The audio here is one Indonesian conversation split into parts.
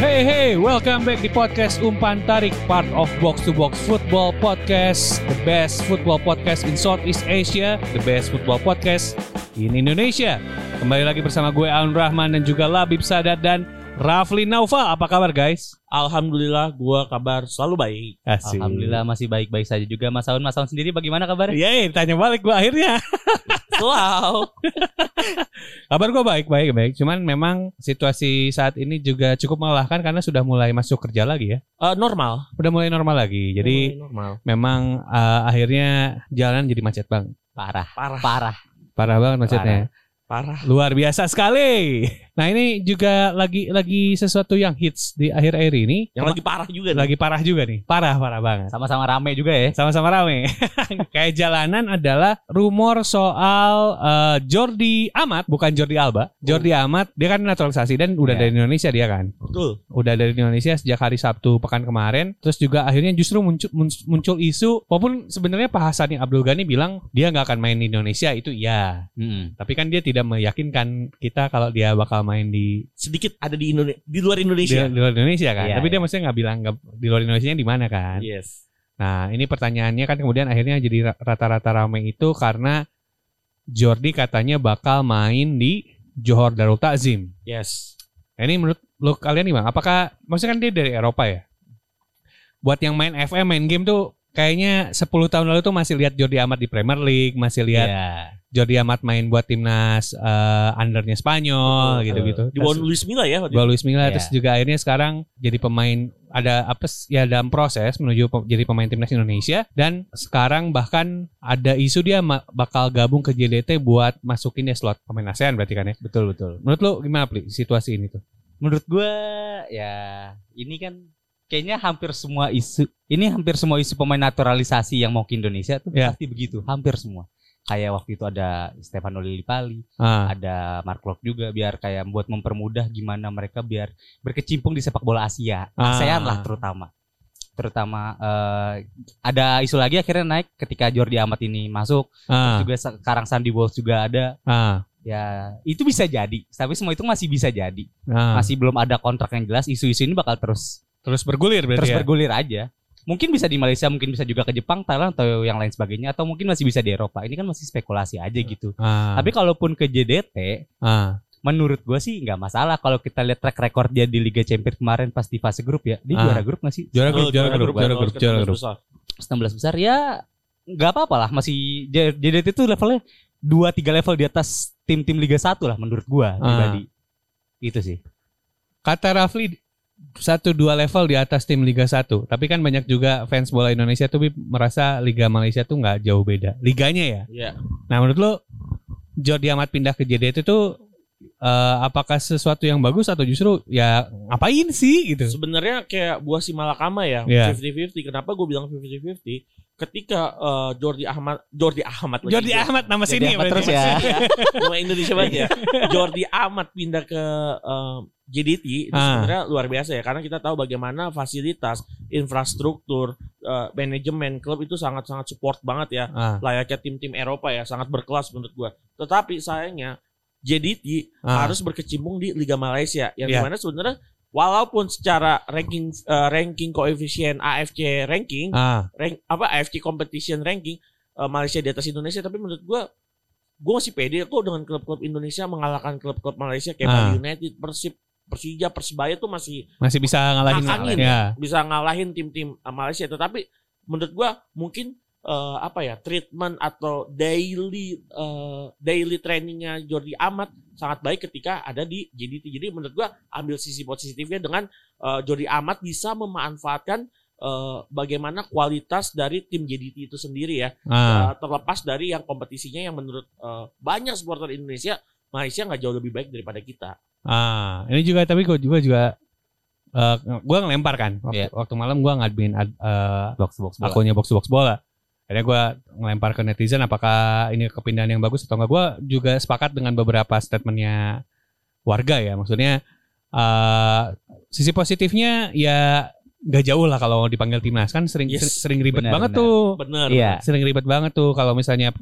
Hey hey, welcome back di podcast Umpan Tarik part of Box to Box Football Podcast, the best football podcast in Southeast Asia, the best football podcast in Indonesia. Kembali lagi bersama gue Aun Rahman dan juga Labib Sadat dan Rafli Naufal. Apa kabar guys? Alhamdulillah gua kabar selalu baik. Alhamdulillah masih baik-baik saja juga Mas Aun. Mas Aun sendiri bagaimana kabarnya? Yeay, tanya balik gue akhirnya. Wow. Kabar gue baik, baik, baik. Cuman memang situasi saat ini juga cukup melelahkan karena sudah mulai masuk kerja lagi ya. Eh, normal. Udah mulai normal lagi. Jadi normal. memang eh, akhirnya jalanan jadi macet bang. Parah, Parah. parah. Parah banget macetnya. Parah. Luar biasa sekali. Nah ini juga lagi lagi sesuatu yang hits di akhir-akhir ini. Yang lagi parah juga. nih. lagi parah juga nih. Parah parah banget. Sama-sama rame juga Eh. ya. Sama-sama rame. Kayak jalanan adalah rumor soal eh, Jordi Amat, bukan Jordi Alba. Jordi Oh. Amat dia kan naturalisasi dan udah Ya. Iya. dari Indonesia dia kan. Betul. Udah dari Indonesia sejak hari Sabtu pekan kemarin. Terus juga akhirnya justru muncul mun- muncul isu walaupun sebenarnya Pak Hasan Abdul Ghani bilang dia nggak akan main di Indonesia itu iya. Mm-mm. Tapi kan dia tidak meyakinkan kita kalau dia bakal main di Sedikit ada di Indonesia, di luar di, Indonesia. di luar Indonesia kan. Iya, Tapi dia iya. maksudnya nggak bilang nggak- di luar Indonesia di mana kan. Yes. Nah ini pertanyaannya kan kemudian akhirnya jadi ra- rata-rata rame itu karena Jordi katanya bakal main di Johor Darul Takzim. Yes. Nah, ini menurut lo kalian nih bang, apakah maksudnya kan dia dari Eropa ya? Buat yang main FM main game tuh kayaknya 10 tahun lalu tuh masih lihat Jordi Amat di Premier League, masih Iya. lihat Jordi Amat main buat timnas eh, undernya Spanyol Betul. Oh, gitu-gitu. Di bawah Luis Milla ya. waktu Gua Luis Milla Iya. terus juga akhirnya sekarang jadi pemain ada apa s- ya dalam proses menuju pe- jadi pemain timnas Indonesia dan sekarang bahkan ada isu dia ma- bakal gabung ke JDT buat masukin dia slot pemain ASEAN berarti kan ya. Betul, betul. Menurut lo gimana Pli situasi ini tuh? Menurut gua ya ini kan kayaknya hampir semua isu ini hampir semua isu pemain naturalisasi yang mau ke Indonesia tuh Iya. pasti begitu, hampir semua. Kayak waktu itu ada Stefano Lillipali, Ah, ada Mark Klok juga biar kayak buat mempermudah gimana mereka biar berkecimpung di sepak bola Asia, Ah. ASEAN lah terutama. Terutama eh, ada isu lagi akhirnya naik ketika Jordi Amat ini masuk, ah, juga sekarang Sandy Walsh juga ada. ah, Ya, itu bisa jadi, tapi semua itu masih bisa jadi. ah. Masih belum ada kontrak yang jelas, isu-isu ini bakal terus terus bergulir berarti terus ya? bergulir aja. Mungkin bisa di Malaysia, mungkin bisa juga ke Jepang, Thailand atau yang lain sebagainya atau mungkin masih bisa di Eropa. Ini kan masih spekulasi aja gitu. Ah, Tapi kalaupun ke JDT, ah, menurut gue sih nggak masalah kalau kita lihat track record dia di Liga Champions kemarin pas di fase grup ya dia Ah. juara grup nggak sih juara itu. grup, Oh, juara grup, juara grup, ketemu juara grup. susah. 19 besar ya nggak apa-apa lah masih J- JDT itu levelnya dua tiga level di atas tim-tim Liga 1 lah menurut gue Ah. pribadi itu sih Kata Rafli satu dua level di atas tim Liga 1 tapi kan banyak juga fans bola Indonesia tuh Bib, merasa Liga Malaysia tuh nggak jauh beda liganya ya Iya. Nah menurut lo Jordi Amat pindah ke JDT itu eh, apakah sesuatu yang bagus atau justru ya ngapain sih gitu? Sebenarnya kayak buah si malakama ya, Iya. 50-50. Kenapa gue bilang 50-50? Ketika eh, Jordi Ahmad, Jordi Ahmad lagi. Iya, Jordi Ahmad Iya. nama Jordi sini Amat berarti. terus ya Nama Indonesia banget ya. Jordi Amat pindah ke eh, JDT itu Ah. sebenarnya luar biasa ya karena kita tahu bagaimana fasilitas, infrastruktur, eh, manajemen klub itu sangat-sangat support banget ya Ah, layaknya tim-tim Eropa ya sangat berkelas menurut gua. Tetapi sayangnya JDT ah, harus berkecimpung di Liga Malaysia yang Iya. dimana sebenarnya walaupun secara ranking eh, ranking koefisien AFC ranking ah, rank apa AFC competition ranking eh, Malaysia di atas Indonesia tapi menurut gua gue masih pede kok dengan klub-klub Indonesia mengalahkan klub-klub Malaysia kayak Ah. Bali United, Persib, Persija, Persebaya tuh masih masih bisa ngalahin Angin. ya. bisa ngalahin tim-tim eh, Malaysia tetapi menurut gua mungkin eh, apa ya treatment atau daily eh, daily trainingnya Jordi Amat sangat baik ketika ada di JDT jadi menurut gua ambil sisi positifnya dengan eh, Jordi Amat bisa memanfaatkan eh, bagaimana kualitas dari tim JDT itu sendiri ya Ah, Eh, terlepas dari yang kompetisinya yang menurut eh, banyak supporter Indonesia Malaysia nggak jauh lebih baik daripada kita ah. Ini juga tapi gue juga juga eh, gue ngelempar kan waktu, Iya. waktu malam gue ngadmin ad- eh, box box bola. akunnya box to box bola. Akhirnya gue ngelempar ke netizen apakah ini kepindahan yang bagus atau enggak. Gue juga sepakat dengan beberapa statementnya warga ya. Maksudnya eh sisi positifnya ya nggak jauh lah kalau dipanggil timnas kan sering Yes, sering ribet benar, banget benar. tuh. bener. Iya. Sering ribet banget tuh kalau misalnya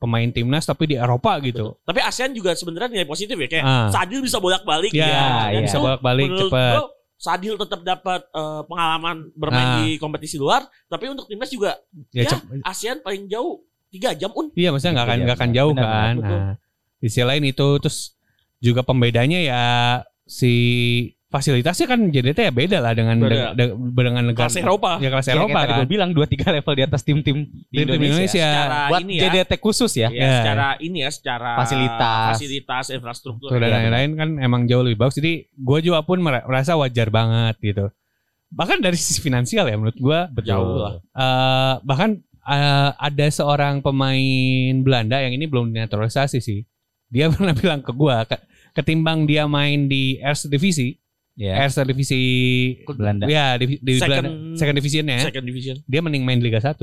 pemain timnas tapi di Eropa gitu. Tapi ASEAN juga sebenarnya nilai positif ya kayak Ah. Sadil bisa bolak-balik Ya, Iya, Dan iya. bisa itu bolak-balik menurut cepat. gua, Sadil tetap dapat eh, pengalaman bermain Ah. di kompetisi luar, tapi untuk timnas juga Ya, ya, cep- ASEAN paling jauh 3 jam un. Iya maksudnya nggak akan Iya, nggak akan benar, jauh benar, kan. betul. Nah, di sisi lain itu terus juga pembedanya ya si fasilitasnya kan JDT ya beda lah dengan Beda. de- de- dengan negara Kelas Eropa. Ya Iya, kelas Ya, Eropa kayak tadi kan. gue bilang dua tiga level di atas tim-tim di Tim- tim Indonesia. Indonesia. Secara Buat ini ya. JDT khusus ya. Ya, Ya. secara ini ya, secara Fasilitas. fasilitas infrastruktur. Tuh, dan Iya. Ya. lain-lain kan emang jauh lebih bagus. Jadi gue juga pun mer- merasa wajar banget gitu. Bahkan dari sisi finansial ya menurut gue Jauh lah. Eh, bahkan eh, ada seorang pemain Belanda yang ini belum dinaturalisasi sih. Dia pernah bilang ke gue, ketimbang dia main di Erste Divisi, Ya. Erste Divisi Belanda. Ya di, di Second- Belanda, second divisionnya ya, Second division. dia mending main Liga 1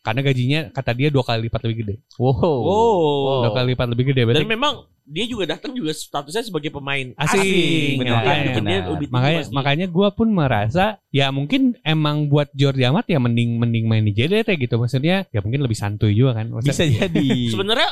karena gajinya kata dia dua kali lipat lebih gede. Wow. Oh. Dua kali lipat lebih gede berarti. Dan memang dia juga datang juga statusnya sebagai pemain Asing. Iya, Benar, Benar, mungkin dia benar. lebih tinggi makanya pasti. makanya gue pun merasa ya mungkin emang buat Jordi Amat ya mending mending main di JDT gitu maksudnya ya mungkin lebih santuy juga kan. Maksudnya- Bisa jadi. Sebenarnya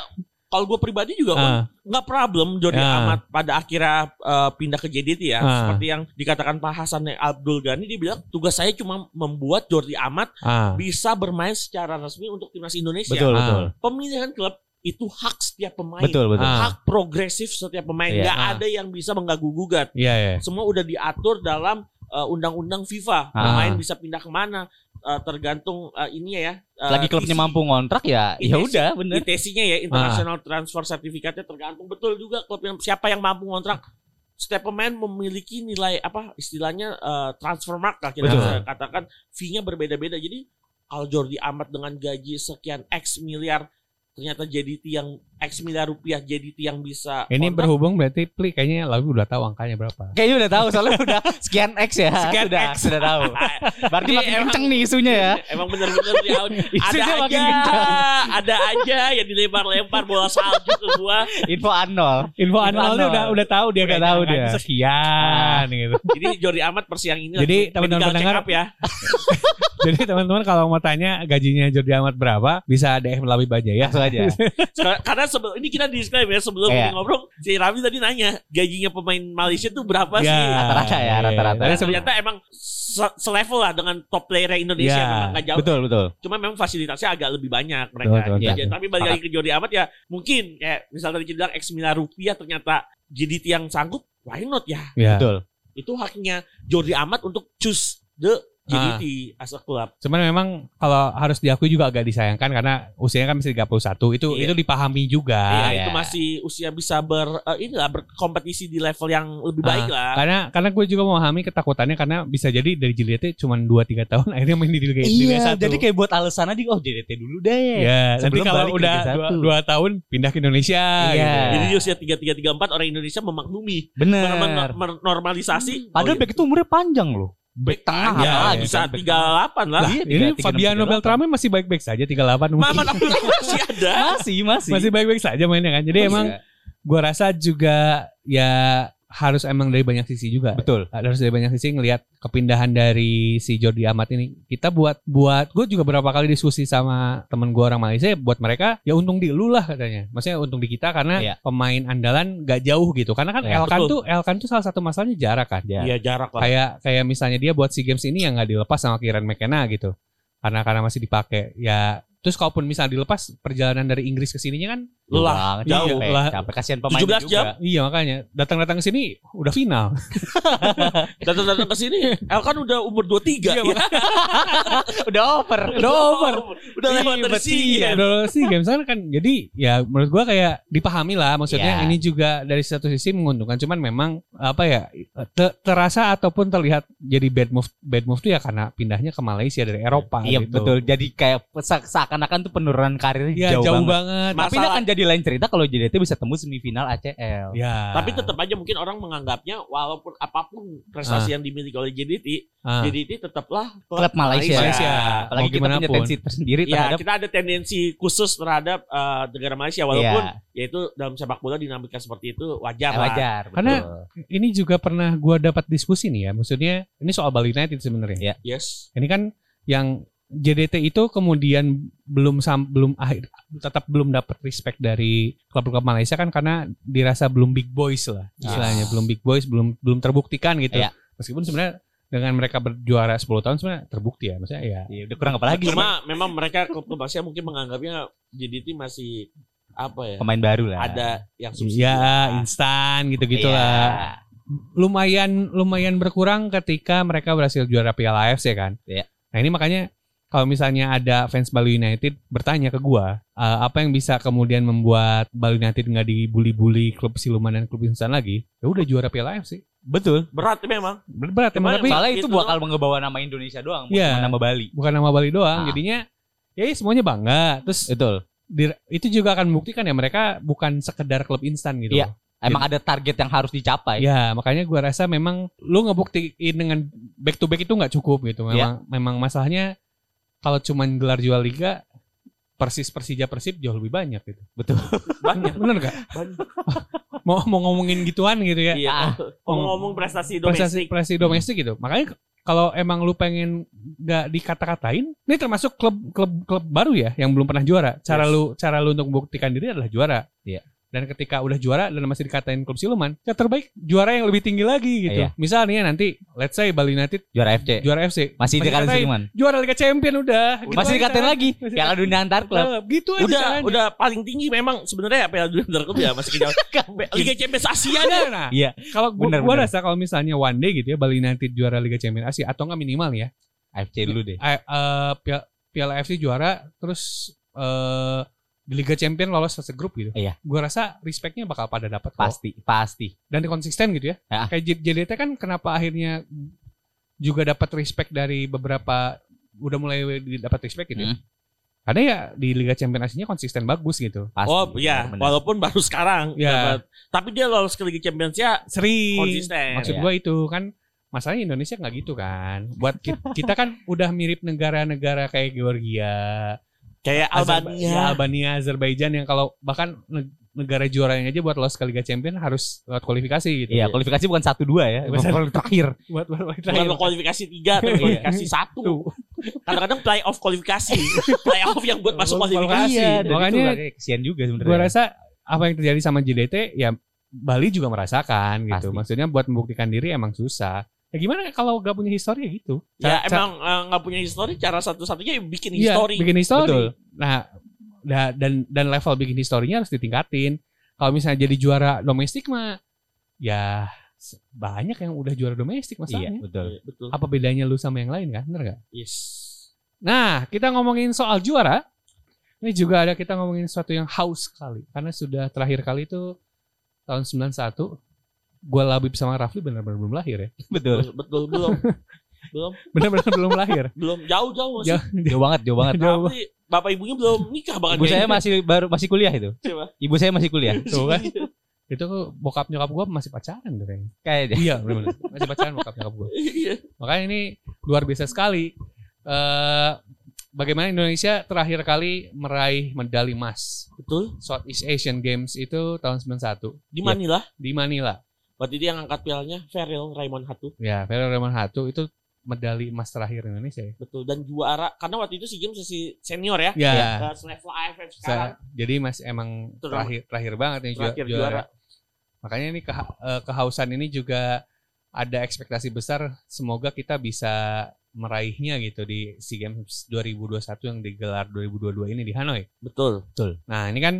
kalau gue pribadi juga Un, Ah, nggak problem Jordi Ya. Amat pada akhirnya eh, pindah ke JDT ya. Ah. Seperti yang dikatakan Pak Hasan Abdul Ghani dia bilang tugas saya cuma membuat Jordi Amat ah. bisa bermain secara resmi untuk timnas Indonesia. betul, Ah. betul. Pemilihan klub itu hak setiap pemain. Betul, betul. Ah. Hak progresif setiap pemain. Iya. Nggak Ah. ada yang bisa mengganggu gugat. Iya ya. Semua udah diatur dalam eh, undang-undang FIFA. Ah. Pemain bisa pindah kemana eh, tergantung eh, ininya ya. eh, Lagi klubnya isi- mampu ngontrak ya, Isi- ya udah bener. ITC-nya ya International Transfer Certificate-nya tergantung betul juga klub yang siapa yang mampu ngontrak setiap pemain memiliki nilai apa istilahnya eh, transfer mark lah kita Betul. bisa katakan fee-nya berbeda-beda jadi kalau Jordi Amat dengan gaji sekian X miliar ternyata JDT yang X miliar rupiah JDT yang bisa Ini kontrak, berhubung berarti Pli kayaknya lalu udah tahu angkanya berapa. Kayaknya udah tahu soalnya udah sekian X ya. Sekian sudah, X. sudah tahu. Berarti Iya, Ini makin emang- kenceng nih isunya ya. Ah, emang bener-bener di out. ada Isunya makin aja kencang. ada aja yang dilempar-lempar bola salju ke gua Info anol. Info Anwar. Anwalnya udah udah tahu dia Udah kayaknya tahu angkanya dia. sekian gitu. jadi Jordi Amat persiang ini Jadi, lagi teman-teman medical check pendengar, up ya Jadi teman-teman kalau mau tanya gajinya Jordi Amat berapa bisa DM Labi aja ya. Langsung aja. Sekar- Karena sebelum ini kita disclaimer ya sebelum Iya. ini ngobrol si Rami tadi nanya gajinya pemain Malaysia tuh berapa Ya, sih? Rata-rata ya, iya. rata-rata. Tapi Dan sebelum- ternyata emang se- selevel lah dengan top player Indonesia Iya, memang gak jauh. Betul, betul. Cuma memang fasilitasnya agak lebih banyak Betul, mereka. betul, Ya, betul. Tapi balik lagi ke Jordi Amat ya mungkin kayak misal tadi kita bilang X miliar rupiah ternyata JDT yang sanggup why not ya? Ya. Betul. Itu haknya Jordi Amat untuk choose the JDT Ah. as a club. Cuman memang kalau harus diakui juga agak disayangkan karena usianya kan masih 31. Itu Iya. itu dipahami juga. Iya, iya. itu masih usia bisa ber eh, inilah berkompetisi di level yang lebih Ah, baik lah. Karena karena gue juga memahami ketakutannya karena bisa jadi dari JDT cuma 2 3 tahun akhirnya main di Liga, Liga Iya, 1. jadi kayak buat alasan aja oh JDT dulu deh. ya, nanti sebelum balik kalau ke udah Liga 2, satu. tahun pindah ke Indonesia Iya. Jadi gitu. di usia 3334 orang Indonesia memaklumi Bener. Hmm. menormalisasi. Oh, iya. Padahal back itu umurnya panjang loh. Back tengah Ya, apa lagi? Oh, iya. bisa kan? Back 38 lah. tengah. Iya, Ini 36, Fabiano 38. Beltrame masih baik-baik saja 38 umur. Mamat Abdul masih ada. Masih, masih. Iya. masih baik-baik saja mainnya kan. Jadi Masih. emang gue rasa juga ya harus emang dari banyak sisi juga. betul. harus dari banyak sisi ngelihat kepindahan dari si Jordi Amat ini. Kita buat buat gue juga berapa kali diskusi sama temen gue orang Malaysia buat mereka ya untung di lu lah katanya. Maksudnya untung di kita karena Iya. pemain andalan gak jauh gitu. Karena kan Iya, Elkan betul. tuh Elkan tuh salah satu masalahnya jarak kan. Ya. Iya jarak lah. Kayak kayak misalnya dia buat si games ini yang nggak dilepas sama Kieran McKenna gitu. Karena karena masih dipakai ya Terus kalaupun misalnya dilepas perjalanan dari Inggris ke sininya kan Lelah. Iya, Bang, jauh. capek, Lah. capek kasihan pemain 17 juga. jam. iya makanya datang-datang ke sini udah final. Datang-datang ke sini, El kan udah umur 23. Iya, ya. Udah over. udah over. Udah lewat Iya, dari betul. sini. Iya, Udah lewat SEA Games kan kan. Jadi ya menurut gua kayak dipahami lah maksudnya Iya. ini juga dari satu sisi menguntungkan cuman memang apa ya te- terasa ataupun terlihat jadi bad move bad move tuh ya karena pindahnya ke Malaysia dari Eropa Iya gitu. betul. Jadi kayak se- seakan-akan tuh penurunan karirnya Iya jauh, jauh, banget. banget. Ma- Tapi ini Masalah- akan jadi di lain cerita kalau JDT bisa tembus semifinal ACL. Ya. Tapi tetap aja mungkin orang menganggapnya walaupun apapun prestasi yang dimiliki oleh JDT, Ah. JDT tetaplah Ah. Klub Malaysia. Malaysia. Apalagi Mau kita gimana punya pun. tensi tersendiri Ya, terhadap kita ada tendensi khusus terhadap eh, negara Malaysia walaupun yaitu dalam sepak bola dinamika seperti itu wajar ya, lah. Iya. wajar. Karena- betul. ini juga pernah gua dapat diskusi nih ya. Maksudnya ini soal Bali United sebenarnya. Yes. Ini kan yang JDT itu kemudian belum sam, belum akhir tetap belum dapat respect dari klub-klub Malaysia kan karena dirasa belum big boys lah istilahnya Yes. belum big boys belum belum terbuktikan gitu Ah. Iya. meskipun sebenarnya dengan mereka berjuara 10 tahun sebenarnya terbukti ya maksudnya ya Ya, udah kurang apa lagi Cuma memang mereka klub klub Malaysia mungkin menganggapnya JDT masih apa ya? pemain baru lah. Ada yang subsidi. ya lah. instan gitu Iya. gitulah lumayan lumayan berkurang ketika mereka berhasil juara Piala AFC kan. Iya. Nah ini makanya kalau misalnya ada fans Bali United bertanya ke gua eh, apa yang bisa kemudian membuat Bali United nggak dibully-bully klub siluman dan klub instan lagi? Ya udah juara Piala AFC. Betul. Berat memang. Ber- Berat emang Cuman tapi Soalnya itu itu bakal ngebawa nama Indonesia doang, bukan Iya. nama Bali. bukan nama Bali doang. Ah. Jadinya ya semuanya bangga. Terus Betul. di- itu juga akan membuktikan ya mereka bukan sekedar klub instan gitu. Iya. Emang ada target yang harus dicapai. Ya makanya gua rasa memang lu ngebuktiin dengan back to back itu nggak cukup gitu. Memang memang masalahnya kalau cuman gelar jual liga persis Persija Persib jauh lebih banyak gitu. Betul. Banyak. Bener gak? banyak. Mau mau ngomongin gituan gitu ya. Iya. Ah. Ngomong-ngomong prestasi Prestasi domestik. Hmm. prestasi domestik gitu. Makanya k- kalau emang lu pengen nggak dikata-katain, ini termasuk klub klub klub baru ya yang belum pernah juara. Cara Yes. lu cara lu untuk membuktikan diri adalah juara. Iya. Dan ketika udah juara dan masih dikatain klub siluman, ya terbaik juara yang lebih tinggi lagi gitu. Iya. Misalnya nanti let's say Bali United Juara FC. juara FC. Masih dikatain dikatain, Sudirman. Juara Liga Champion udah. Gitu aja Masih dikatain caranya. lagi. Masih Piala dikatain. Dunia Antar Klub. Eh, Gitu aja. Udah, caranya. udah paling tinggi memang sebenarnya Piala Dunia Antar Klub ya masih kejauhan. Liga Champions Asia Ada, dah. nah. Iya. Kalau gua, Bener, gua bener. rasa kalau misalnya one day gitu ya Bali United juara Liga Champion Asia atau enggak minimal ya. AFC dulu deh. eh, eh, Piala, Piala AFC juara terus eh di Liga Champion lolos fase grup gitu. Iya. Gua rasa respectnya bakal pada dapat kok. Pasti, pasti. Dan konsisten gitu ya. Ah. Kayak J- JDT kan kenapa akhirnya juga dapat respect dari beberapa udah mulai dapat respect gitu. ya. Hmm. Karena ya di Liga Champion Asianya konsisten bagus gitu. Pasti. Oh iya, Benar-benar. walaupun baru sekarang Iya. dapat. Tapi dia lolos ke Liga Champions ya Sering. konsisten. Maksud Iya. gua itu kan masalahnya Indonesia nggak gitu kan. Buat ki- kita kan udah mirip negara-negara kayak Georgia, Kayak Azerbaijan, Albania. Ya, Albania, Azerbaijan yang kalau bahkan neg- negara juaranya aja buat lolos ke Liga Champion harus lewat kualifikasi gitu. Iya, kualifikasi bukan satu dua ya. Bukan satu. Bukan terakhir. Buat buat buat- Bukan lo kualifikasi tiga, tapi Iya. kualifikasi satu. Tuh. Kadang-kadang playoff kualifikasi, playoff yang buat masuk kualifikasi. Iya, dan Makanya- itu agak kesian juga sebenarnya. Gue rasa apa yang terjadi sama JDT ya Bali juga merasakan gitu. Pasti. Maksudnya buat membuktikan diri emang susah. Ya gimana kalau gak punya histori ya gitu. Ya Ca- ca- emang eh, nggak punya histori, cara satu-satunya ya bikin Iya, histori. bikin histori. Betul. Nah, da- dan dan level bikin historinya harus ditingkatin. Kalau misalnya jadi juara domestik mah ya se- banyak yang udah juara domestik Iya, masalahnya. betul. Iya, Betul. Apa bedanya lu sama yang lain kan? Bener gak? Yes. Nah, kita ngomongin soal juara. Ini juga ada kita ngomongin sesuatu yang haus sekali. Karena sudah terakhir kali itu tahun 91. Gue Labib sama Rafli benar-benar belum lahir ya. Betul. Betul, betul belum. belum, Benar-benar belum lahir. belum jauh-jauh masih. Jauh- Jauh banget, jauh banget. jauh. Tapi bapak ibunya belum nikah bahkan. Ibu saya kayaknya. masih baru masih kuliah itu. Coba. Ibu saya masih kuliah. Tuh kan. Itu bokap nyokap gue masih pacaran tuh kayaknya. Kayaknya. Iya, benar-benar. Masih pacaran bokap nyokap gue. Iya. Makanya ini luar biasa sekali. Eh, bagaimana Indonesia terakhir kali meraih medali emas Betul. Southeast Asian Games itu tahun 91 Di Manila. di Manila. Waktu itu yang angkat pialanya Feril Raymond Hatu. Ya, Vero Raymond Hatu itu medali emas terakhir Indonesia ya. Betul. Dan juara. Karena waktu itu si Games masih senior ya. Ya. Ke selevel AFF sekarang. Sa- jadi Mas emang Terus- terakhir terakhir banget nih ju- Terakhir juara. Makanya ini keha- eh, kehausan ini juga ada ekspektasi besar semoga kita bisa meraihnya gitu di SEA Games 2021 yang digelar 2022 ini di Hanoi. Betul. Nah, ini kan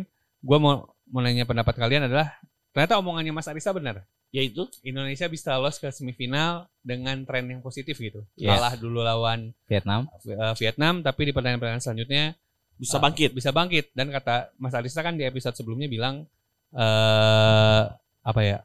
gua mau mau nanya pendapat kalian adalah ternyata omongannya Mas Arista benar. Yaitu Indonesia bisa lolos ke semifinal dengan tren yang positif gitu. Yes. Kalah dulu lawan Vietnam. eh, Vietnam tapi di pertandingan-pertandingan selanjutnya bisa Ah. bangkit. bisa bangkit dan kata Mas Arista kan di episode sebelumnya bilang eh apa ya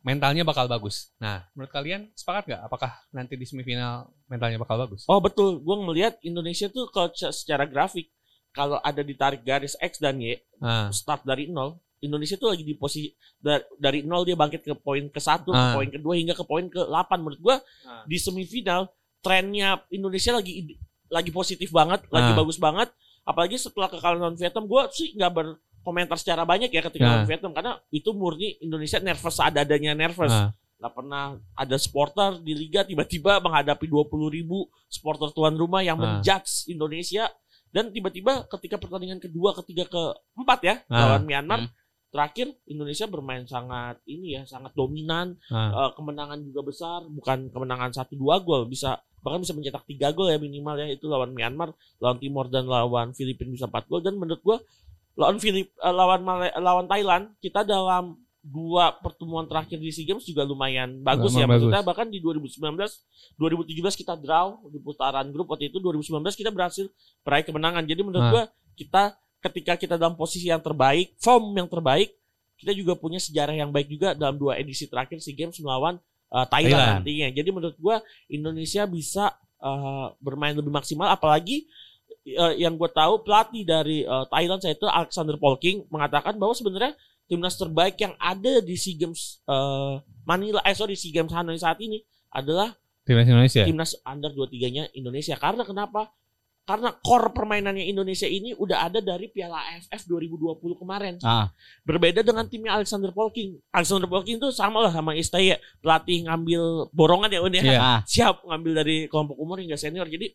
mentalnya bakal bagus. Nah, menurut kalian sepakat nggak? Apakah nanti di semifinal mentalnya bakal bagus? Oh betul, gue ngelihat Indonesia tuh kalau se- secara grafik kalau ada ditarik garis X dan Y Ah. start dari nol Indonesia tuh lagi di posisi da- dari nol dia bangkit ke poin ke satu, ke Ah. poin kedua hingga ke poin ke delapan. Menurut gua Ah. di semifinal trennya Indonesia lagi id- lagi positif banget, lagi Ah. bagus banget. Apalagi setelah kekalahan lawan Vietnam, gua sih nggak berkomentar secara banyak ya ketika Ah. lawan Vietnam karena itu murni Indonesia nervous ada-adanya nervous. Ah. Nggak pernah ada supporter di liga tiba-tiba menghadapi 20.000 ribu supporter tuan rumah yang Ah. menjudge Indonesia dan tiba-tiba ketika pertandingan kedua, ketiga, keempat ya Ah. lawan Myanmar Hmm. terakhir Indonesia bermain sangat ini ya sangat dominan Ah. Eh, kemenangan juga besar bukan kemenangan satu dua gol bisa bahkan bisa mencetak tiga gol ya minimal ya itu lawan Myanmar lawan Timor dan lawan Filipina bisa empat gol dan menurut gua lawan Filip eh, lawan Male- lawan Thailand kita dalam dua pertemuan terakhir di SEA Games juga lumayan bagus Lumayan ya maksudnya bahkan di 2019 2017 kita draw di putaran grup waktu itu 2019 kita berhasil peraih kemenangan jadi menurut Ah. gua kita ketika kita dalam posisi yang terbaik form yang terbaik kita juga punya sejarah yang baik juga dalam dua edisi terakhir SEA Games melawan uh, Thailand, Thailand. nantinya. Jadi menurut gua Indonesia bisa uh, bermain lebih maksimal apalagi uh, yang gue tahu pelatih dari uh, Thailand saya itu Alexander Polking mengatakan bahwa sebenarnya timnas terbaik yang ada di SEA Games uh, Manila eh sorry SEA Games Hanoi saat ini adalah Timnas Indonesia. timnas under 23-nya Indonesia. Karena kenapa? Karena core permainannya Indonesia ini udah ada dari Piala AFF 2020 kemarin. Ah. Berbeda dengan timnya Alexander Polking. Alexander Polking itu sama lah sama Istaya, pelatih ngambil borongan ya Un, ya. Iya. Ah. Siap ngambil dari kelompok umur hingga senior. Jadi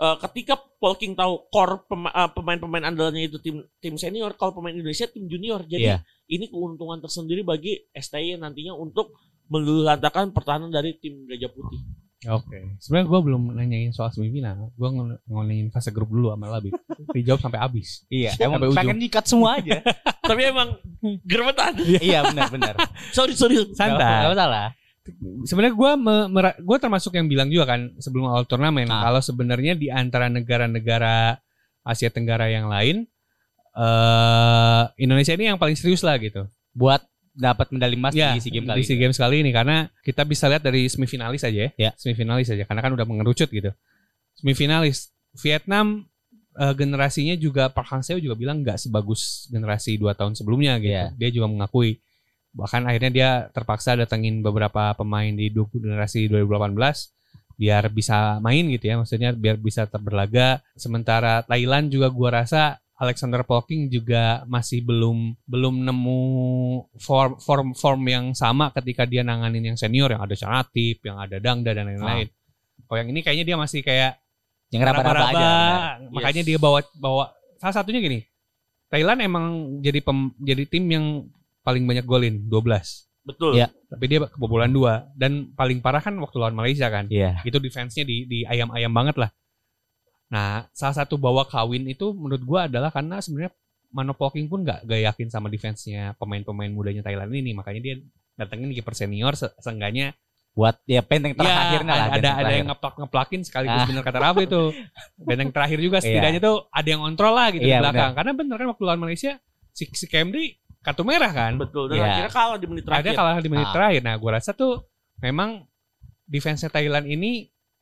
eh, ketika Polking tahu core pema- eh, pemain-pemain andalannya itu tim tim senior, kalau pemain Indonesia tim junior. Jadi Iya. ini keuntungan tersendiri bagi STY nantinya untuk meluluhlantakan pertahanan dari tim Gajah Putih. Oke. Sebenarnya gue belum nanyain soal semifinal. Gue ng- nanyain fase grup dulu sama Labib. Dijawab sampai habis. Iya, Sampai emang ujung. pengen nyikat semua aja. Tapi emang gerbetan. iya, benar-benar. Sorry, sorry. Enggak masalah. Sebenarnya gue gue termasuk yang bilang juga kan sebelum awal turnamen Ah. kalau sebenarnya di antara negara-negara Asia Tenggara yang lain eh Indonesia ini yang paling serius lah gitu. Buat dapat medali emas Ya, Iya, di SEA Games kali. Di SEA Games kali ini karena kita bisa lihat dari semifinalis aja ya. Ya. Semifinalis aja karena kan udah mengerucut gitu. Semifinalis Vietnam eh, generasinya juga Park Hang Seo juga bilang nggak sebagus generasi dua tahun sebelumnya gitu. Ya. Dia juga mengakui bahkan akhirnya dia terpaksa datengin beberapa pemain di du- generasi 2018 biar bisa main gitu ya maksudnya biar bisa terberlaga sementara Thailand juga gua rasa Alexander Polking juga masih belum belum nemu form form form yang sama ketika dia nanganin yang senior yang ada Canatip, yang ada Dangda dan lain-lain. Kalau yang ini kayaknya dia masih kayak Yang raba-raba aja. benar. raba-raba. Makanya Yes. dia bawa bawa salah satunya gini. Thailand emang jadi pem, jadi tim yang paling banyak golin 12. Betul. Ya. Tapi dia kebobolan 2 dan paling parah kan waktu lawan Malaysia kan Iya. itu defense-nya di di ayam-ayam banget lah. Nah, salah satu bawa kawin itu menurut gua adalah karena sebenarnya Manopoking pun nggak gak yakin sama defense-nya pemain-pemain mudanya Thailand ini, makanya dia datengin kiper senior se- seenggaknya Buat ya benteng ya, terakhirnya lah. ada ada, ada benteng yang terakhir. ngeplak ngeplakin sekaligus Ah. bener kata Rabu itu benteng terakhir juga Iya. setidaknya tuh ada yang kontrol lah gitu Iya, di belakang karena bener kan waktu lawan Malaysia si, si Camry kartu merah kan Betul. Dan Ya. akhirnya kalah di menit ada terakhir. kalah di menit Ah. terakhir. Nah, gua rasa tuh memang defense Thailand ini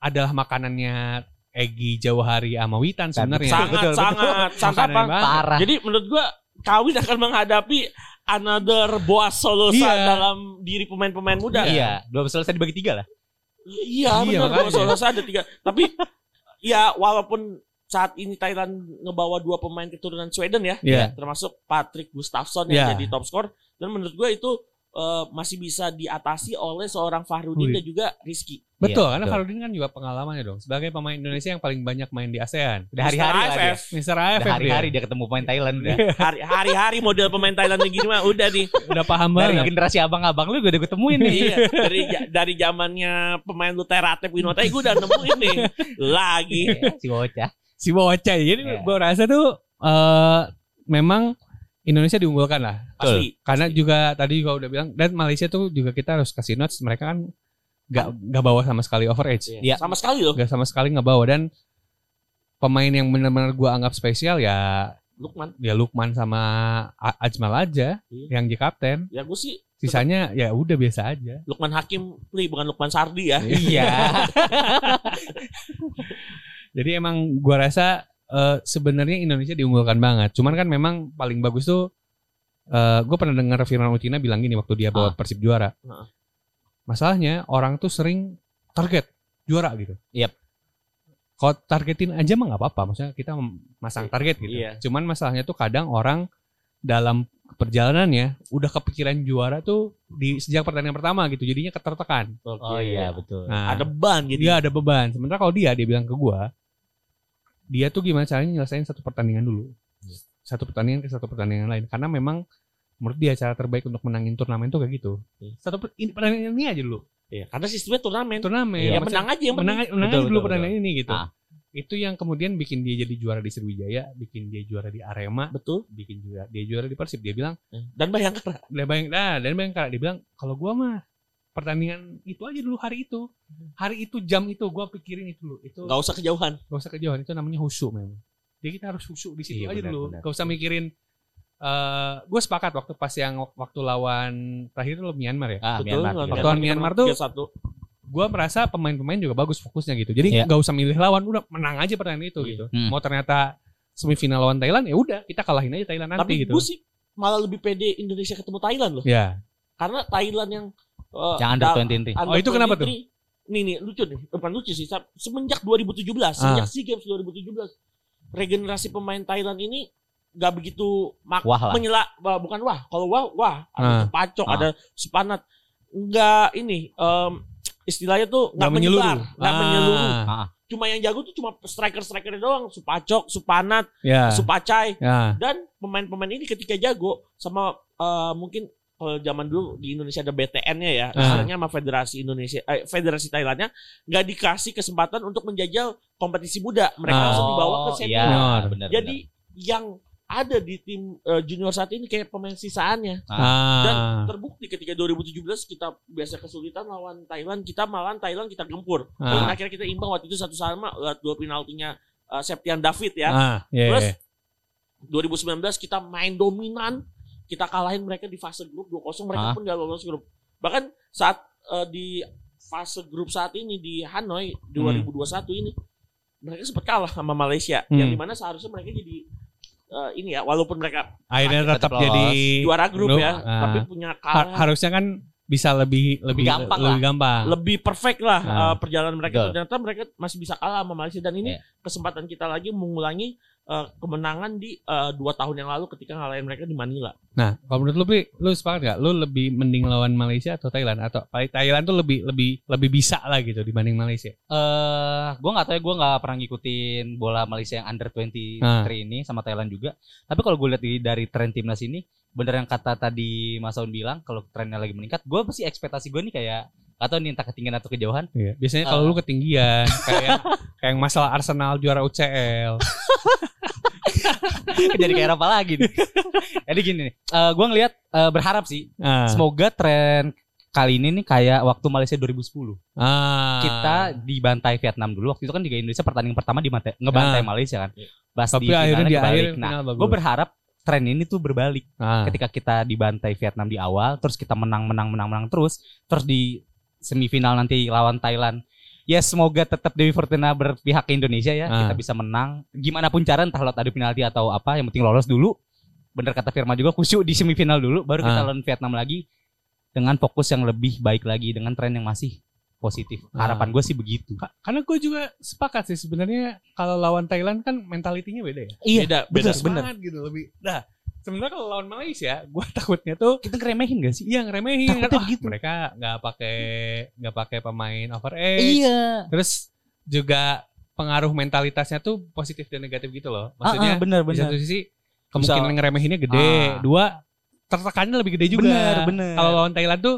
adalah makanannya Egi Jauhari sama Witan Sangat, sebenarnya. Betul, betul. sangat, sangat Iya. Makanannya apa? banget. parah. Jadi menurut gua Kawin akan menghadapi another Boas Solosa Iya. dalam diri pemain-pemain muda. Iya, belum selesai dibagi tiga lah. Iya, Iya, benar Boas makanya. Solosa ada tiga. Tapi ya walaupun saat ini Thailand ngebawa dua pemain keturunan Sweden ya, Iya. termasuk Patrick Gustafsson yang Iya. jadi top skor dan menurut gua itu eh, masih bisa diatasi oleh seorang Fahrudin Wih. dan juga Rizky. Betul, Iya, karena betul. Farudin kan juga pengalamannya dong sebagai pemain Indonesia yang paling banyak main di ASEAN. Udah hari-hari Mister lah dia. AFF. Mister Udah AFF hari-hari dia. dia ketemu pemain Thailand udah. Hari- Hari-hari model pemain Thailand yang gini mah udah nih. udah paham Dari banget. generasi abang-abang lu gue udah ketemuin nih. iya, dari dari zamannya pemain lu Terate Winotai gue udah nemuin nih lagi. Iya, si bocah. Si bocah. Jadi Iya. gua rasa tuh eh, memang Indonesia diunggulkan lah Pasti. Karena juga tadi juga udah bilang dan Malaysia tuh juga kita harus kasih notes mereka kan nggak nggak bawa sama sekali overage. Iya. Sama sekali loh. nggak sama sekali nggak bawa dan pemain yang benar-benar gua anggap spesial ya Lukman. ya Lukman sama A- Ajmal aja Iya. yang jadi kapten Ya gue sih sisanya ya udah biasa aja Lukman Hakim, Li, bukan Lukman Sardi ya. Iya. jadi emang gua rasa eh, sebenarnya Indonesia diunggulkan banget. Cuman kan memang paling bagus tuh gue pernah dengar Firman Ucina bilang gini waktu dia bawa Persib juara. Ah. Masalahnya orang tuh sering target juara gitu. Yap. Kalau targetin aja mah nggak apa-apa. Maksudnya kita masang target gitu. Iya. Cuman masalahnya tuh kadang orang dalam perjalanannya udah kepikiran juara tuh di sejak pertandingan pertama gitu. Jadinya ketertekan. Oke. Oh iya betul. Nah, Ada ban gitu. dia ada beban. Sementara kalau dia dia bilang ke gua, dia tuh gimana caranya nyelesain satu pertandingan dulu. Iya. Satu pertandingan ke satu pertandingan lain karena memang menurut dia cara terbaik untuk menangin turnamen tuh kayak gitu. Iya. Satu per- ini, pertandingan ini aja dulu. Iya, karena sistemnya turnamen. Turnamen. Iya, Ya Maksud- menang aja yang menang, penting. menang aja Betul, dulu betul, pertandingan ini gitu. Ah. Itu yang kemudian bikin dia jadi juara di Sriwijaya, bikin dia juara di Arema, Betul. bikin juga dia juara di Persib. Dia bilang, Dan bayangkan dia bayang, nah, dan bayangkara dia bilang kalau gua mah pertandingan itu aja dulu hari itu. Hmm. Hari itu jam itu gua pikirin itu dulu. Itu nggak usah kejauhan. gak usah kejauhan itu namanya khusyuk memang jadi kita harus khusyuk di situ Iya, aja benar, dulu benar. gak usah mikirin eh gue sepakat waktu pas yang waktu lawan terakhir itu lo Myanmar ya Ah, Betul. Myanmar. lawan Myanmar. Lawan Myanmar tuh- 3-1. gue merasa pemain-pemain juga bagus fokusnya gitu jadi Iya. gak usah milih lawan udah menang aja pertandingan itu Iya. gitu Hmm. mau ternyata semifinal lawan Thailand ya udah kita kalahin aja Thailand nanti Tapi gitu gue sih malah lebih pede Indonesia ketemu Thailand loh. ya Karena Thailand yang eh, Yang under da- 23. Oh, itu kenapa 23. Nih nih lucu nih, bukan lucu sih. sa- Semenjak Ah. 2017, semenjak SEA Games 2017, regenerasi pemain Thailand ini nggak begitu mak Wah lah. menyela bah- bukan wah, kalau wah wah Ah. ada pacok, Ah. ada sepanat. Enggak ini em, istilahnya tuh nggak Nggak menyeluruh. menyeluruh, nggak Ah, menyeluruh. Ah, Cuma yang jago tuh cuma striker-strikernya doang, supacok, supanat, ya supacai ya dan pemain-pemain ini ketika jago sama eh, mungkin kalau zaman dulu di Indonesia ada BTN-nya ya, Ah. istilahnya sama Federasi Indonesia, eh, Federasi Thailandnya nggak dikasih kesempatan untuk menjajal kompetisi muda, mereka Ah. langsung dibawa ke iya, senior. Senior. benar. Jadi yang ada di tim eh, junior saat ini kayak pemain sisaannya dan ah terbukti ketika 2017 kita biasa kesulitan lawan Thailand, kita malahan Thailand kita gempur. Ah. Dan akhirnya kita imbang waktu itu satu sama lewat dua penaltinya eh, Septian David ya. ah ya, Terus ya. 2019 kita main dominan, kita kalahin mereka di fase grup 2-0, mereka Hah? pun gak lolos grup. Bahkan saat eh, di fase grup saat ini di Hanoi 2021 ini mereka sempat kalah sama Malaysia yang Hmm. dimana seharusnya mereka jadi eh, ini ya walaupun mereka akhirnya Tetap tetap lolos. jadi juara grup ya Ah. tapi punya har- kalah harusnya kan bisa lebih lebih gampang lebih gampang lebih perfect lah Ah. eh, perjalanan mereka Betul. ternyata mereka masih bisa kalah sama Malaysia dan ini Iya. kesempatan kita lagi mengulangi eh, kemenangan di eh, dua tahun yang lalu ketika ngalahin mereka di Manila Nah, kalau menurut lu, Pri, lu sepakat gak? Lu lebih mending lawan Malaysia atau Thailand? Atau Thailand tuh lebih lebih lebih bisa lah gitu dibanding Malaysia. Eh, gue nggak tahu ya, gue nggak pernah ngikutin bola Malaysia yang under 23 Ah. ini sama Thailand juga. Tapi kalau gue lihat di- dari tren timnas ini, bener yang kata tadi Mas Aun bilang, kalau trennya lagi meningkat, gue pasti ekspektasi gue nih kayak nggak tahu nih entah ketinggian atau kejauhan. Iya. Biasanya kalau Ah. lu ketinggian, kayak kayak yang masalah Arsenal juara UCL. Jadi kayak apa lagi nih? Jadi gini nih, eh, gue ngelihat eh, berharap sih, Ah. semoga tren kali ini nih kayak waktu Malaysia 2010. Ah. Kita dibantai Vietnam dulu, waktu itu kan Liga Indonesia pertandingan pertama dibantai, ngebantai Ah. Malaysia kan. Iya. Pas tapi akhirnya di akhir kebalik. Nah, final bagus. gue berharap tren ini tuh berbalik Ah. ketika kita dibantai Vietnam di awal terus kita menang menang menang menang terus terus di semifinal nanti lawan Thailand ya semoga tetap Dewi Fortuna berpihak ke Indonesia ya Ah. kita bisa menang gimana pun cara entah lewat adu penalti atau apa yang penting lolos dulu bener kata Firma juga khusyuk di semifinal dulu baru kita Ah. lawan Vietnam lagi dengan fokus yang lebih baik lagi dengan tren yang masih positif harapan gue sih begitu Ka- Karena gue juga sepakat sih sebenarnya kalau lawan Thailand kan mentalitinya beda ya. Iya, beda beda bener. Semangat gitu lebih. Nah, sebenarnya kalau lawan Malaysia, gue takutnya tuh kita ngeremehin gak sih yang remehin Takutnya gitu." Wah, begitu. mereka nggak pakai nggak pakai pemain over age. iya Terus juga pengaruh mentalitasnya tuh positif dan negatif gitu loh. maksudnya Maksudnya bener di bener satu sisi kemungkinan Bisa- ngeremehinnya gede, Ah. dua tertekannya lebih gede juga. bener bener Kalau lawan Thailand tuh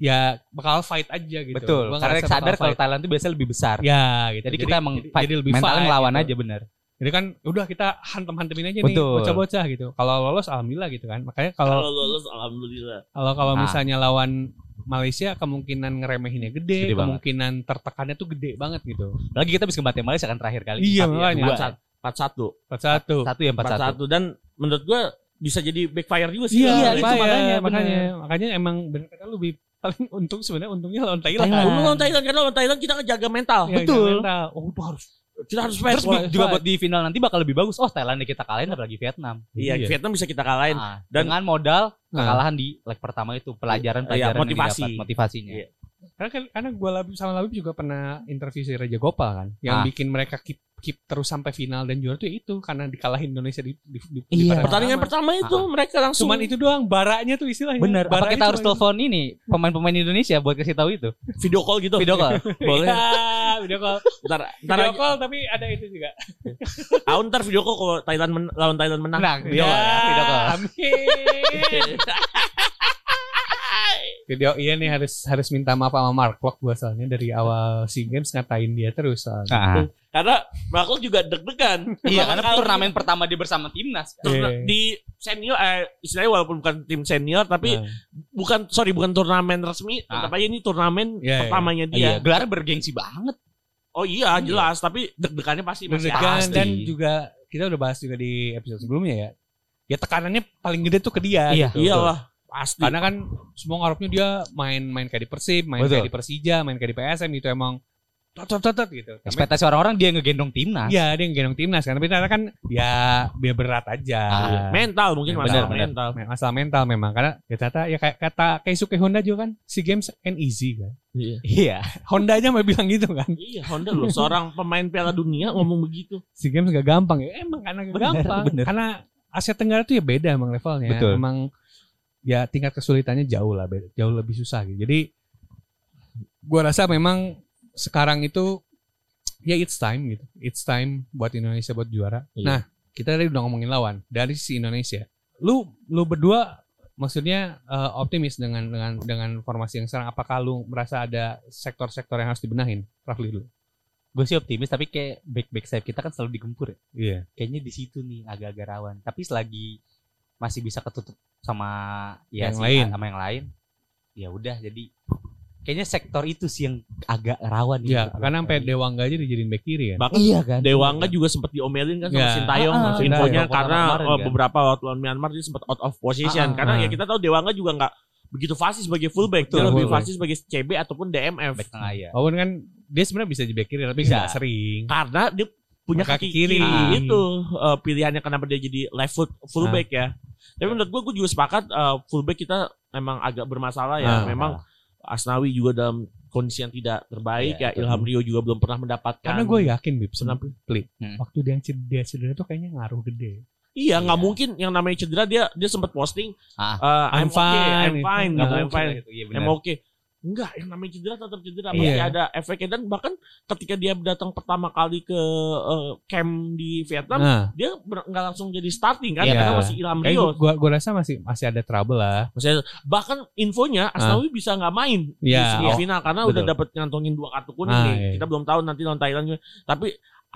ya bakal fight aja gitu. Betul. Gua karena ngerasa sadar bakal kalau fight. Thailand itu biasanya lebih besar. ya gitu. jadi, kita emang fight. jadi lebih mentalnya fight ngelawan gitu. aja bener. Jadi kan udah kita hantem-hantemin aja Betul. nih bocah-bocah gitu. Kalau lolos alhamdulillah gitu kan. Makanya kalau Kalau lolos alhamdulillah. kalau kalau Ah. misalnya lawan Malaysia kemungkinan ngeremehinnya gede, Gede banget. kemungkinan tertekannya tuh gede banget gitu. Lagi kita bisa ngebantai Malaysia kan terakhir kali. Iya, Empat ya, makanya. dua. 4-1. Satu. Satu ya empat satu. 4-1 dan menurut gua bisa jadi backfire juga Iya, sih. Iya, itu itu makanya, makanya, makanya, makanya emang benar kata lu lebih paling untung sebenarnya untungnya lawan Thailand. Thailand. Lawan Thailand karena lawan Thailand kita ngejaga mental. Ya, Betul. jangan mental. Oh, itu harus Kita harus Iya, Terus fight bu- for juga fight. buat di final nanti bakal lebih bagus. Oh Thailand kita kalahin apalagi Vietnam. Iya, Iya. Vietnam bisa kita kalahin. Ah, Dan- dengan modal Nah. kekalahan di leg pertama itu pelajaran pelajaran Iya, yang motivasi. didapat, motivasinya. Iya. Karena kan- karena gue Labib sama Labib juga pernah interview si Raja Gopal kan, yang Ah. bikin mereka keep keep terus sampai final dan juara itu itu karena dikalahin Indonesia di di, di, di Iya. Pertandingan pertama. pertama itu Ah. mereka langsung Cuman itu doang baranya tuh istilahnya. Bener. Apa Baranya kita harus cuma gitu. itu. telepon ini pemain-pemain Indonesia buat kasih tahu itu? video call gitu. Video call. Boleh. Iya, video call. Ntar ntar Video aja- call tapi ada itu juga. ah, ntar video call kalau Thailand men- lawan Thailand menang. Nah, Menang. Video call ya, video call. Amin. video iya nih harus harus minta maaf sama Mark Locke gua soalnya dari awal SEA Games ngatain dia terus soalnya. Ah. karena Marco juga deg-degan. Iya, Bakal karena kalah. turnamen pertama dia bersama timnas. kan. Turna- Iya. di senior eh, istilahnya walaupun bukan tim senior tapi Nah. bukan sorry bukan turnamen resmi Ah. tetap aja ini turnamen Iya, iya. pertamanya dia Iya, gelar bergengsi banget. oh iya jelas tapi deg-degannya pasti masih Deg-degan. Deg-degan Iya, pasti. dan juga kita udah bahas juga di episode sebelumnya ya. Ya tekanannya paling gede tuh ke dia. Iya. ada. gitu. iyalah pasti Karena kan semua ngarepnya dia main-main kayak di Persib, main Betul. kayak di Persija, main kayak di PSM gitu emang tot-tot-tot gitu. Tapi Ekspektasi orang-orang dia ngegendong timnas. ya dia yang gendong timnas kan. Tapi ternyata kan ya biar berat aja. Ah, Iya, mental mungkin Bener, masalah bener. mental Me- Masalah mental memang karena ya ternyata ya kayak kata Keisuke Honda juga kan si games and easy kan. iya. Iya. Honda aja mau bilang gitu kan. iya Honda loh seorang pemain Piala Dunia ngomong begitu Si games gak gampang ya emang karena gak Bener, gampang. bener. Karena Asia Tenggara tuh ya beda emang levelnya. Betul. Emang ya tingkat kesulitannya jauh lah beda- jauh lebih susah gitu. Jadi gua rasa memang sekarang itu ya it's time gitu. It's time buat Indonesia buat juara. Iya. Nah, kita tadi udah ngomongin lawan dari si Indonesia. Lu lu berdua maksudnya eh, optimis dengan dengan dengan formasi yang sekarang apakah lu merasa ada sektor-sektor yang harus dibenahin? Rafli dulu. Gue sih optimis tapi kayak back-back sayap kita kan selalu digempur ya. Iya. Kayaknya di situ nih agak-agak rawan. Tapi selagi masih bisa ketutup sama ya Yang si- lain. sama yang lain. Ya udah jadi kayaknya sektor itu sih yang agak rawan Iya, gitu. karena sampai Dewangga aja dijadiin back kiri kan. bahkan Iya kan. Dewangga juga sempat diomelin kan sama Iya. Sintayong Ah, ah. infonya Sintayong. karena Kemarin oh, kan. beberapa waktu lawan Myanmar dia sempat out of Ah, position ah. karena ya Ah. kita tahu Dewangga juga nggak begitu fasih sebagai fullback dia Betul, lebih fullback. fasih sebagai CB ataupun DMF back tengah ya. Owen kan dia sebenarnya bisa Kan. di back kiri tapi Bisa. nggak sering. karena dia punya kaki, Kaki kiri, kiri. Ah. itu eh, pilihannya kenapa dia jadi left foot fullback ya tapi menurut gue gue juga sepakat eh, fullback kita emang agak bermasalah Ah. ya memang Asnawi juga dalam kondisi yang tidak terbaik Iya, ya Ilham Rio juga belum pernah mendapatkan Karena gue yakin Bib, senang Kenapa? Hmm. waktu dia cedera, dia cedera tuh kayaknya ngaruh gede. iya nggak Iya. mungkin yang namanya cedera dia dia sempat posting Ah. eh, I'm I'm, fine, okay, I'm gitu. fine Nggak gitu, I'm mungkin fine gitu. Iya I'm okay Enggak, yang namanya cedera tetap cedera. Pasti Iya. ada efeknya. Dan bahkan ketika dia datang pertama kali ke eh, camp di Vietnam, Nah, dia ber- nggak langsung jadi starting kan Iya. karena masih Ilham kayak gue Rio. gua, gua rasa masih masih ada trouble lah. Maksudnya, bahkan infonya Asnawi bisa nggak main Ah. Iya, di semifinal karena betul. udah dapat ngantongin dua kartu kuning Ah, nih. iya. Kita belum tahu nanti lawan Thailand juga. Tapi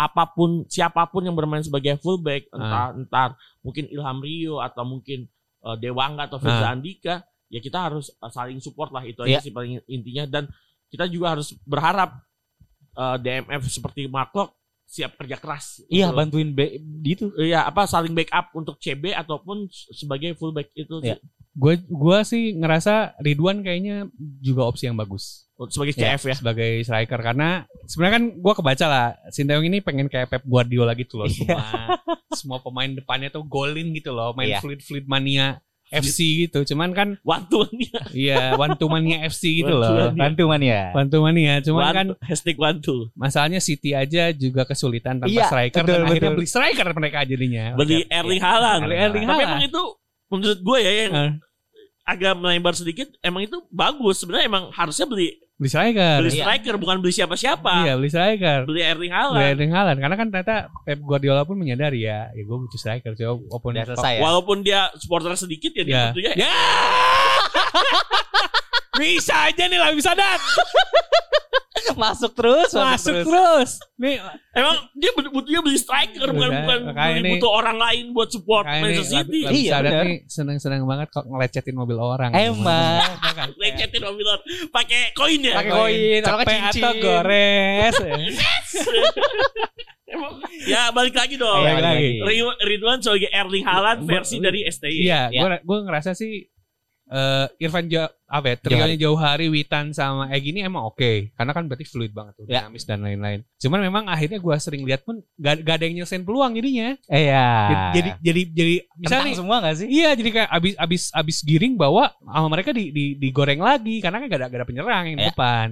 apapun siapapun yang bermain sebagai fullback Ah. entah entar mungkin Ilham Rio atau mungkin eh, Dewangga atau Ah. Firza Andika ya kita harus eh, saling support lah itu aja Iya. sih paling intinya dan kita juga harus berharap eh, DMF seperti Maklok siap kerja keras. Iya Untuk- bantuin gitu. back di itu. Iya apa saling backup untuk CB ataupun s- sebagai fullback itu Iya. Gue gua sih ngerasa Ridwan kayaknya juga opsi yang bagus sih, sebagai Iya. CF ya. sebagai striker karena sebenarnya kan gua kebaca lah Sinteyong ini pengen kayak Pep Guardiola gitu loh semua semua pemain depannya tuh golin gitu loh main Iya. fluid fluid mania FC gitu cuman kan Wantuannya. iya one to mania FC gitu loh One to Bantu ya? mania. mania. one to mania cuman Wantu, kan hashtag wantu. Masalahnya City aja juga kesulitan tanpa Iya, striker betul, dan akhirnya betul. beli striker mereka jadinya. Beli Erling Haaland. Beli Erling Tapi Haaland. emang itu menurut gue ya yang Eh. agak melebar sedikit emang itu bagus sebenarnya emang harusnya beli beli striker. beli Iya. striker bukan beli siapa-siapa. Eh, Iya, beli striker. Beli Erling Beli Haaland. Erling Haaland karena kan ternyata Pep Guardiola pun menyadari ya, ya gue butuh striker. Coba walaupun Udah selesai ya. Walaupun dia supporter sedikit ya dia Iya. tentunya Ya. bisa aja nih lah bisa dat Masuk terus, masuk terus. Nih emang dia but- butuhnya beli striker bukan Udah, bukan Iya, makanya beli nih- butuh orang lain buat support kayak nih Manchester City. lah bisa Iya, dat benar. nih seneng-seneng banget kok ngelecetin mobil orang. Emang. Lecetin Obilon pakai koin ya. Pakai koin, atau cepet cincin. atau gores. Emang- ya balik lagi dong. Iya, Balik lagi. lagi. Ri- Ridwan sebagai Erling Haaland versi dari STI. Iya, Iya. gue gue ngerasa sih eh, Irfan ja apa ya, trionya jauh hari Witan sama Egy ini emang oke karena kan berarti fluid banget tuh Ya. dinamis dan lain-lain cuman memang akhirnya gua sering lihat pun gak, gak ada yang nyelesain peluang jadinya Eh ya. jadi jadi jadi, jadi misalnya Kentang nih, semua gak sih? Iya jadi kayak abis abis abis giring bawa sama mereka di, di digoreng lagi karena kan gak ada, gak ada penyerang yang di Iya. depan.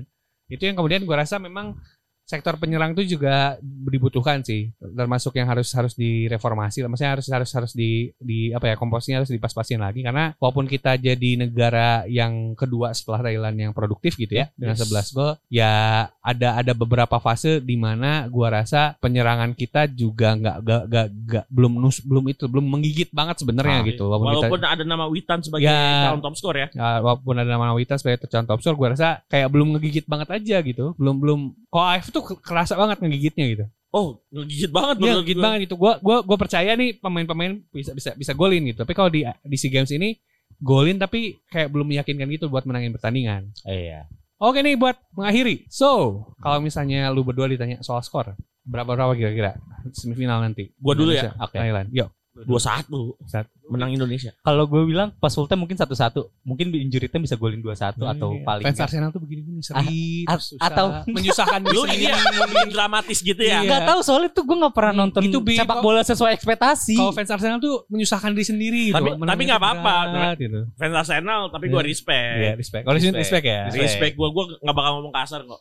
Itu yang kemudian gua rasa memang sektor penyerang itu juga dibutuhkan sih termasuk yang harus harus direformasi maksudnya harus harus harus di di apa ya komposnya harus dipas-pasin lagi karena walaupun kita jadi negara yang kedua setelah Thailand yang produktif gitu Iya. ya dengan Yes. 11 gol ya ada ada beberapa fase di mana gua rasa penyerangan kita juga nggak nggak nggak nggak- belum nus belum itu belum menggigit banget sebenarnya Ah, Iya. gitu walaupun, kita- Walaupun ada nama Witan sebagai Ya. calon top score ya. Ya, walaupun ada nama Wita sebagai tercatat top score, gue rasa kayak belum ngegigit banget aja gitu. Belum belum. Kalau AF tuh ke- kerasa banget ngegigitnya gitu. Oh, ngegigit banget Iya, menurut ngegigit gua. banget gitu. Gue gua gua percaya nih pemain-pemain bisa bisa bisa golin gitu. Tapi kalau di di SEA Games ini golin tapi kayak belum meyakinkan gitu buat menangin pertandingan. Iya. Oke nih buat mengakhiri. So, kalau misalnya lu berdua ditanya soal skor, berapa-berapa kira-kira semifinal nanti? Gua dulu ya. Indonesia, Oke. Thailand. Yuk. Dua satu Satu. menang Indonesia. Kalau gue bilang pas full time mungkin satu-satu. Mungkin injury time bisa golin dua-satu atau paling Iya. fans nggak- Arsenal tuh begini-gini Ah, seri, ah, terus susah. atau- menyusahkan Lu diri ini ya. sendiri. yang mau bikin dramatis gitu ya. Iya. Gak tahu soalnya tuh gue gak pernah Hmm, nonton itu, Bi. sepak Kalau- bola sesuai ekspektasi. Kalau fans Arsenal tuh menyusahkan diri sendiri. gitu. Tapi- tapi Menangnya nggak tuh apa-apa. berat, gitu. Fans Arsenal tapi Iya. gua Iya, respect. respect. Kalau di sini respect ya. Respect. Respect gua gua nggak bakal ngomong kasar kok.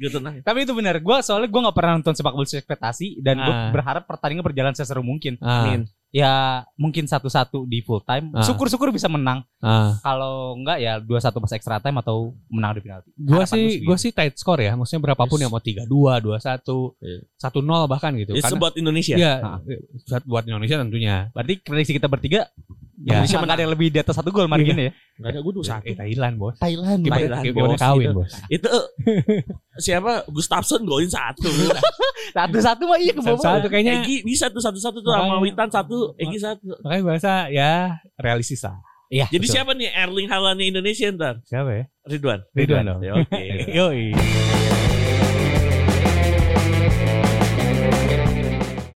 gitu tenang. Tapi itu benar. Gue soalnya gue nggak pernah nonton sepak bola sesuai ekspektasi dan gue Ah. berharap pertandingan berjalan seseru mungkin. Ah. Amin. Ya mungkin satu-satu di full time. Ah. Syukur-syukur bisa menang. Ah. Kalau enggak ya dua-satu pas extra time atau menang di penalti. Gua Harapan sih lu gua sih tight score ya. Maksudnya berapapun Yes. ya mau 3-2, 2-1, Iya. 1-0 bahkan gitu. It's Karena about ya? Indonesia. Iya, Ah. buat- buat Indonesia tentunya. Berarti prediksi kita bertiga Ya. Indonesia menang ada yang lebih di atas satu gol mari Iya. gini ya. Gak ada gua dua satu. Eh, Thailand, Bos. Thailand. Gimana- Gimana, Thailand, gimana Bos, kawin, gitu. Bos? Itu siapa Gustafsson golin satu. Satu-satu mah iya Satu-satu ya? kebobolan. kayaknya Egy bisa tuh satu-satu tuh sama Makanya. Witan satu, Egy satu. Makanya gue rasa ya realistis lah. Iya. Jadi betul. siapa nih Erling Haaland Indonesia ntar? Siapa ya? Ridwan. Ridwan dong. Ya, Oke. Yoi.